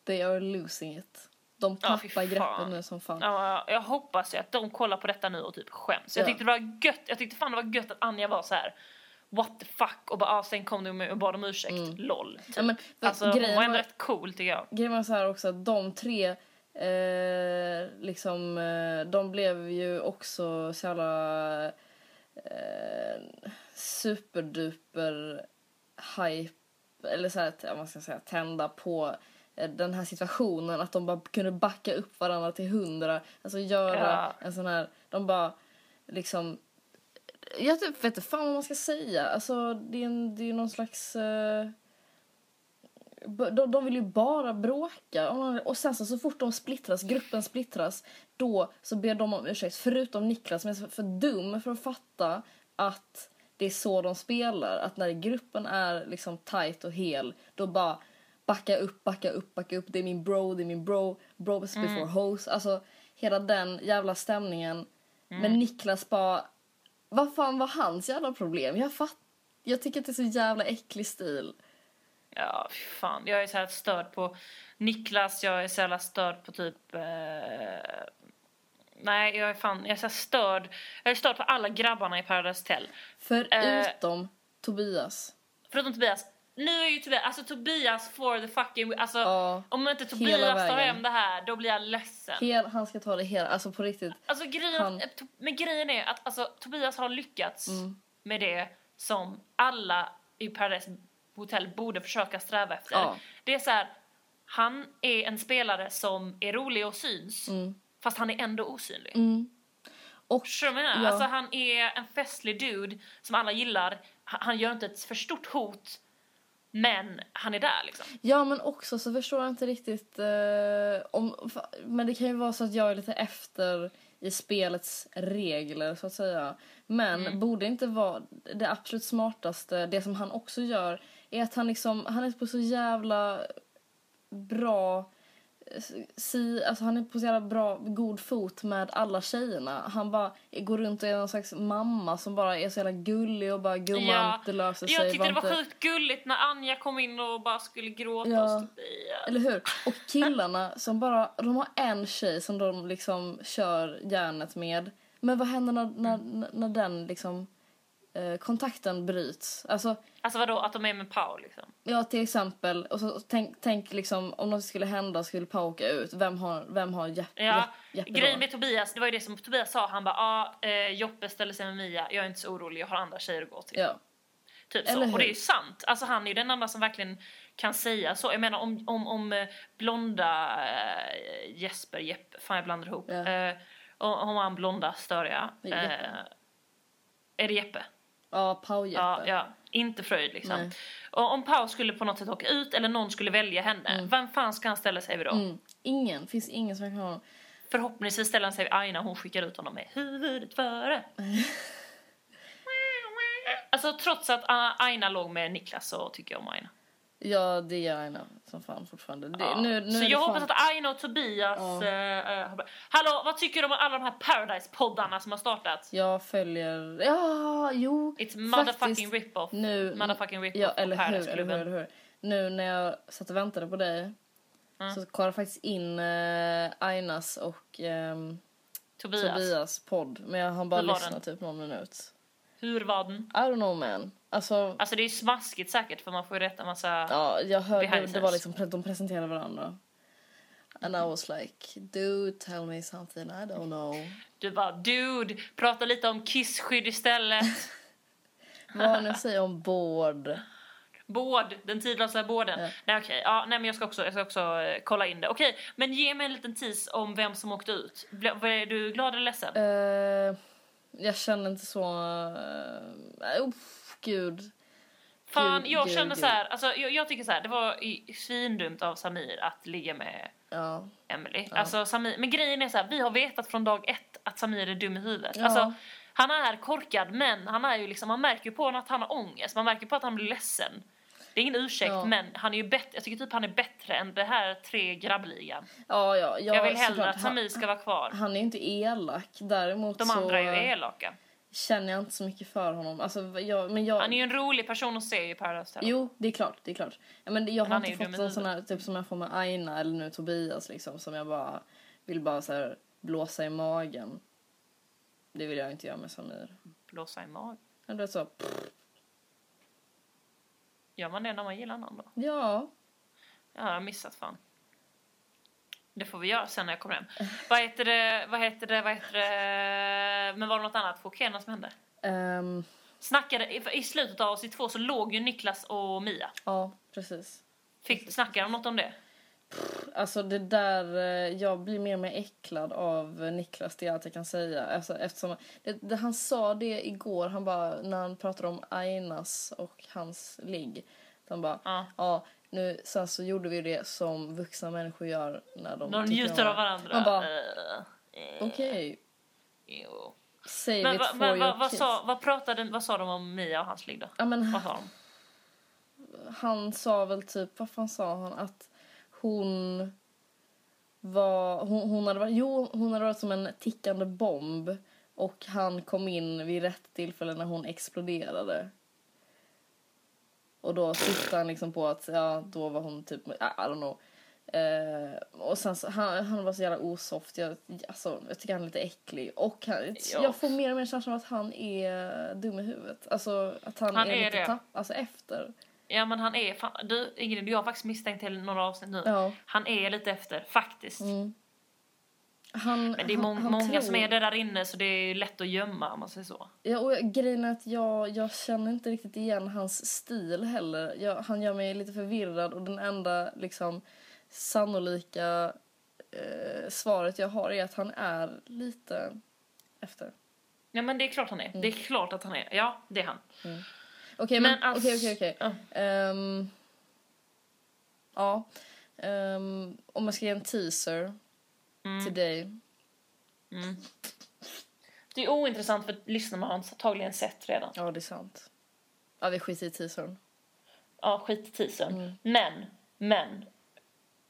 A: they are losing it. De
B: Ja, fy
A: tappar
B: fan.
A: greppet nu som fan.
B: Ja, jag hoppas ju att de kollar på detta nu och typ skäms. Jag
A: Ja.
B: tyckte det var gött, jag tyckte fan det var gött att Anja var så här. What the fuck och bara ah, sen kom de och bad om ursäkt,
A: Mm.
B: LOL. Typ.
A: Ja, men, för
B: alltså hon
A: grejen
B: var ändå
A: var-
B: rätt cool tycker jag.
A: Grejen var så här också att de tre, eh, liksom, eh, de blev ju också så jävla eh, superduper hype, eller så här, ja, man ska säga, tända på eh, den här situationen, att de bara kunde backa upp varandra till hundra, alltså göra
B: Ja.
A: en sån här, de bara liksom jag vet inte fan vad man ska säga. Alltså, det är ju det är någon slags... Eh, b- de, de vill ju bara bråka. Och sen så, så fort de splittras, gruppen splittras, då så ber de om ursäkt. Förutom Niklas som är så- för dum för att fatta att det är så de spelar. Att när gruppen är liksom tight och hel, då bara backa upp, backa upp, backa upp. Det är min bro, det är min bro. Bros before hose. Alltså hela den jävla stämningen. Men Niklas bara vad fan var hans jävla problem? Jag fatt... Jag tycker att det är så jävla äcklig stil.
B: Ja, fy fan. Jag är så här störd på Niklas, jag är så jävla störd på typ... Eh... Nej, jag är fan... Jag är så här störd. Jag är störd på alla grabbarna i Paradise Hotel.
A: Förutom Tobias.
B: Förutom Tobias. Nu är ju Tobias... Alltså Tobias for the fucking... Alltså,
A: Ja,
B: om inte
A: hela
B: Tobias tar
A: vägen.
B: hem det här, då blir jag ledsen.
A: Hel, han ska ta det hela, alltså på riktigt.
B: Alltså grejen,
A: Han- Mm.
B: eh, to- men grejen är att alltså, Tobias har lyckats med det som alla i Paradise Hotel borde försöka sträva efter.
A: Ja.
B: Det är så här, han
A: Mm.
B: är en spelare som är rolig och syns, fast han är ändå osynlig.
A: Och,
B: Förstår du vad jag menar?
A: Mm. Ja.
B: Alltså han är en festlig dude som alla gillar. Han han gör inte ett för stort hot, men han är där liksom.
A: ja, men också så förstår jag inte riktigt eh, om... fa- Men det kan ju vara så att jag är lite efter i spelets regler, så att säga. Men
B: Mm.
A: borde inte vara det absolut smartaste, det som han också gör, är att han liksom... Han är på så jävla bra... eh, Si, alltså han är på så jävla bra, god fot med alla tjejerna. Han bara går runt och är någon slags mamma som bara är så jävla gullig och bara gumman, det löser sig.
B: jag tyckte det var
A: inte-
B: sjukt gulligt när Anja kom in och bara skulle gråta
A: Ja.
B: och stå i.
A: Eller hur? Och killarna som bara, de har en tjej som de liksom kör järnet med. Men vad händer när, när, när den liksom eh, kontakten bryts? Alltså,
B: Alltså vadå, att de är med Paul liksom?
A: ja till exempel, och så, och tänk, tänk liksom om något skulle hända skulle Pau åka ut, vem har, vem har Jepp,
B: Ja,
A: Jepp, Jeppe
B: grejen
A: då?
B: med Tobias, det var ju det som Tobias sa, han bara ah, eh, Joppe ställer sig med Mia, jag är inte så orolig, jag har andra tjejer att gå till.
A: Ja.
B: Typ
A: Eller
B: så.
A: hur?
B: Och det är ju sant. Alltså han är ju den enda som verkligen kan säga så. Jag menar om, om, om eh, blonda eh, Jesper, Jeppe, fan jag blandar ihop.
A: Ja.
B: Eh, om om han blonda störiga.
A: Det är Jeppe.
B: är det Jeppe?
A: Ja, Pau Jeppe.
B: Ja, ja. Inte Fröjd
A: Nej.
B: liksom. Och om Pau skulle på något sätt åka ut eller någon skulle välja henne, vem fan ska han ställa sig vid då?
A: Mm. Ingen, finns ingen som kan ha honom.
B: Förhoppningsvis ställer han sig vid Aina och hon skickar ut honom med huvudet före. alltså trots att ah, Aina låg med Niklas så tycker jag om Aina.
A: Ja, det gör jag som fan fortfarande. Det,
B: Ja.
A: nu, nu
B: så
A: är det
B: jag
A: fan...
B: hoppas att Aina och Tobias...
A: Ja.
B: eh, eh, har bra- Hallå, vad tycker du om alla de här Paradise-poddarna som har startat?
A: Jag följer... Ja, jo.
B: It's motherfucking
A: faktiskt.
B: rip-off.
A: nu,
B: Motherfucking rip-off
A: ja,
B: på
A: eller hur, eller hur,
B: Paradise-klubben.
A: eller hur. Nu när jag satt och väntade på dig så kollade jag faktiskt in eh, Ainas och ehm,
B: Tobias,
A: Tobias podd. Men jag har bara
B: Hur var
A: lyssnat
B: den?
A: typ någon minut.
B: hur var den?
A: I don't know man. Alltså,
B: Alltså det är ju smaskigt säkert för man får ju rätta massa...
A: ja, jag hörde,
B: behind
A: det
B: the
A: var
B: scenes.
A: liksom, de presenterade varandra. And I was like, do tell me something I don't know.
B: Du bara dude, prata lite om kissskydd istället.
A: Vad ni säger om bård.
B: Båd, den tidlösa båden.
A: Ja.
B: Nej okej, ja, nej men jag ska också, jag ska också eh, kolla in det. Okej, men ge mig en liten tis om vem som åkte ut. Ble, är du glad eller ledsen?
A: Eh, jag känner inte så... Uh, oh, gud.
B: Fan,
A: Gud,
B: jag
A: gud,
B: känner
A: gud.
B: så här, alltså, jag, jag tycker så här, det var i- svindumt av Samir att ligga med
A: Ja.
B: Emily. Alltså, Samir, men grejen är så här, vi har vetat från dag ett att Samir är dum i huvudet.
A: Ja.
B: Alltså, han är korkad men han är ju liksom, man märker ju på honom att han har ångest, man märker på att han blir ledsen. Det är ingen ursäkt
A: Ja.
B: men han är ju bättre, jag tycker typ han är bättre än det här tre grabbligan.
A: Ja, ja, ja,
B: jag vill hellre
A: såklart.
B: att Samir ska vara kvar.
A: Han är ju inte elak. Däremot
B: De
A: så
B: andra är ju
A: eh,
B: elaka.
A: känner jag inte så mycket för honom. Alltså, jag, men jag,
B: Han är ju en rolig person att se i Paradise Hotel.
A: Jo, det är klart. Det är klart. Ja, men jag
B: Men han
A: har
B: är
A: inte fått
B: ju dum i
A: någon sån här typ, som jag får med Aina eller nu Tobias liksom, som jag bara vill bara så här, blåsa i magen. Det vill jag inte göra med Samir.
B: Blåsa i magen.
A: Han blev så, pff,
B: Gör man det när man gillar någon då?
A: ja.
B: Ja, jag har missat fan. Det får vi göra sen när jag kommer hem. Vad heter det, vad heter det, vad heter det? Men var det något annat chockerande som hände?
A: ehm,
B: Snackade, i- i slutet av avsnitt två så låg ju Niklas och Mia.
A: ja, precis.
B: Fick, snackade de något om det?
A: Alltså det där, eh, jag blir mer och mer äcklad av eh, Niklas, det är allt jag kan säga. Alltså, eftersom, det, det, han sa det igår, han bara, när han pratade om Ainas och hans ligg. Han bara, ja,
B: Ja.
A: nu, sen så gjorde vi det som vuxna människor gör när de
B: De
A: tycker om
B: njuter av varandra.
A: Man bara,
B: Eh, eh,
A: okej,
B: jo.
A: save
B: Men,
A: it
B: va,
A: for
B: men va,
A: your
B: vad,
A: kids.
B: sa, vad, pratade, vad sa de om Mia och hans ligg då?
A: Ja, men,
B: Vad sa de?
A: han sa väl typ, vad fan sa han? Att hon var, hon, hon hade varit, jo hon hade varit som en tickande bomb och han kom in vid rätt tillfälle när hon exploderade. Och då syftade han liksom på att, ja då var hon typ, I I don't know. Eh, och sen så, han, han var så jävla osoft, jag, alltså, jag tycker han är lite äcklig. Och han,
B: Ja.
A: jag får mer och mer känslan av att han är dum i huvudet. Alltså att han,
B: Han
A: är,
B: är
A: lite
B: det.
A: tapp, alltså efter.
B: Ja men han är, fan, du Ingrid du har faktiskt misstänkt till några avsnitt nu.
A: Ja.
B: Han är lite efter, faktiskt.
A: Han,
B: Men det är
A: han-
B: mång-
A: han
B: många
A: tror-
B: som är det där inne så det är ju lätt att gömma om man säger så.
A: Ja, och jag- grejen är att jag, jag känner inte riktigt igen hans stil heller. Jag, han gör mig lite förvirrad och den enda liksom, sannolika eh, svaret jag har är att han är lite efter.
B: Ja men det är klart han är. Det är klart att han är. Ja, det är han.
A: Okej,
B: Men
A: Mm. men
B: alltså-
A: okej, okej, okej. Ehm, Ja. Ehm, om jag ska ge en teaser
B: Mm.
A: till dig.
B: Det är ointressant för lyssnarna har antagligen sett redan.
A: Ja, det är sant. Ja, vi skiter i teasern.
B: Ja, skit i teasern.
A: Mm.
B: Men, men.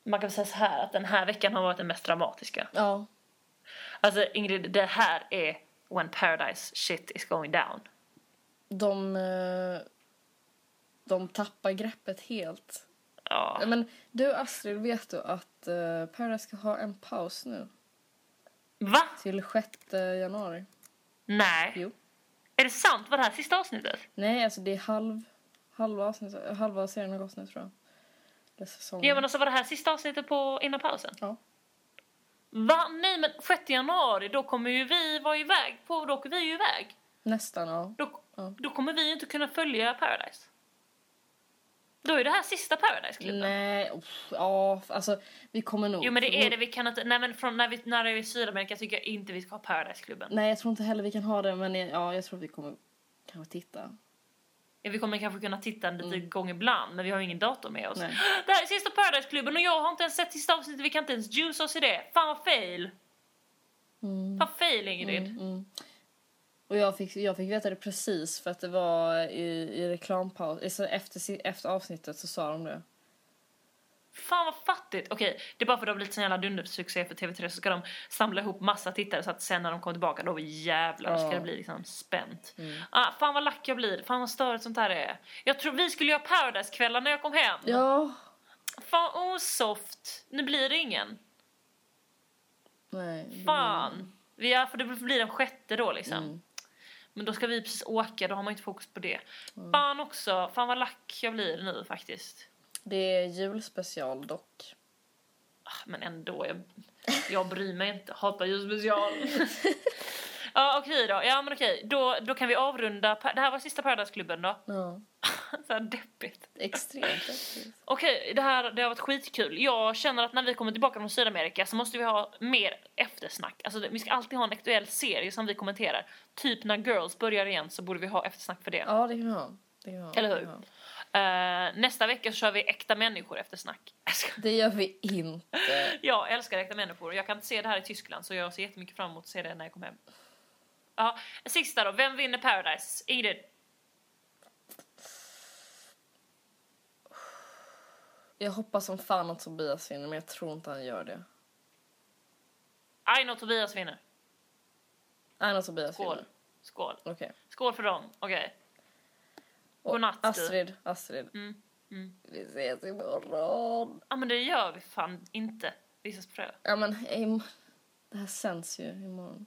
B: Man kan väl säga så här att den här veckan har varit den mest dramatiska.
A: Ja,
B: Alltså Ingrid, det här är when paradise shit is going down.
A: de... eh, De tappar greppet helt.
B: Ja.
A: Ja, Men du Astrid, vet du att eh, Paradise ska ha en paus nu?
B: Va?
A: Till 6 januari.
B: Nej.
A: Jo.
B: Är det sant? Var det här sista avsnittet?
A: Nej, alltså det är halv, halva, avsnitt, halva serien har gått nu tror jag. Eller säsongen.
B: Ja men alltså var det här sista avsnittet på, innan pausen?
A: Ja.
B: Va? Nej men 6 januari då kommer ju vi vara iväg på, då åker vi ju iväg.
A: Nästan ja.
B: Då,
A: Ja.
B: då kommer vi ju inte kunna följa Paradise. Då är det här sista Paradise-klubben.
A: Nej, uff, ja, alltså vi kommer nog.
B: Jo men det är det, vi kan inte, nej men från när vi, när vi är i Sydamerika tycker jag inte vi ska ha Paradise-klubben.
A: Nej, jag tror inte heller vi kan ha det, men ja, jag tror att vi kommer kanske titta.
B: Vi kommer kanske kunna titta en liten gång ibland men vi har ju ingen dator med oss.
A: Mm. Nej.
B: Det här är sista Paradise-klubben och jag har inte ens sett sista avsnittet, vi kan inte ens juice oss i det. Fan vad fail!
A: Mm.
B: Fan fail Ingrid.
A: Och jag fick, jag fick veta det precis för att det var i, i reklampaus, i- så efter, si- efter avsnittet så sa de det.
B: Fan vad fattigt! Okej, det är bara för att de har blivit sån jävla dundersuccé för TV3 så ska de samla ihop massa tittare så att sen när de kommer tillbaka då jävlar ska
A: Ja. Mm.
B: det bli liksom spänt. Ah, fan vad lack jag blir, fan vad störigt sånt här är. Jag tror vi skulle göra Paradise-kvällar när jag kom hem.
A: Ja.
B: Fan osoft, nu blir det ingen.
A: Nej. det-
B: Fan! Vi är, för det blir den sjätte då liksom.
A: Mm.
B: Men då ska vi precis åka, då har man inte fokus på det. Fan också, fan vad lack jag blir nu faktiskt.
A: Det är julspecial dock.
B: Ah, Men ändå, jag, jag bryr mig inte. Hatar julspecial. ja, okej då. Ja, men okej. Då, då kan vi avrunda. Pa- Det här var sista Paradise-klubben då.
A: Ja.
B: Så här deppigt.
A: Extremt faktiskt.
B: Okej, det här det har varit skitkul. Jag känner att när vi kommer tillbaka från Sydamerika så måste vi ha mer eftersnack. Alltså, det- vi ska alltid ha en aktuell serie som vi kommenterar. Typ när Girls börjar igen så borde vi ha eftersnack för det.
A: Ja, det kan vi ha. Det kan vi ha.
B: Eller hur?
A: Ja.
B: Eh, nästa vecka så kör vi äkta människor eftersnack. Jag skojar.
A: Det gör vi inte.
B: Jag älskar äkta människor. Jag kan inte se det här i Tyskland så jag ser jättemycket fram emot att se det när jag kommer hem. Ja, sista då. Vem vinner Paradise? Ingrid?
A: Jag hoppas som fan att Tobias vinner, men jag tror inte han gör det.
B: Aino och Tobias vinner.
A: Nej, när Tobias
B: Skål.
A: vinner.
B: Skål.
A: Okej.
B: Skål för dem. Okej.
A: Och
B: Godnatt, du.
A: Astrid, Astrid.
B: Mm, mm.
A: Vi ses imorgon.
B: Ja, men det gör vi fan inte. Vi ses på fredag.
A: Ja, men im- det här sänds ju imorgon.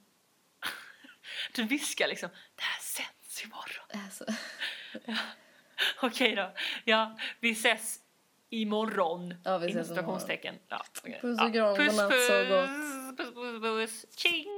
B: Du viskar liksom. Det här sänds imorgon.
A: Alltså.
B: Okej då. Ja, vi ses imorgon.
A: Ja, vi ses
B: Inom
A: imorgon.
B: citationstecken. Ja, okej.
A: Puss och kram,
B: Puss,
A: godnatt,
B: puss,
A: sov gott.
B: puss, puss, puss. Tjing!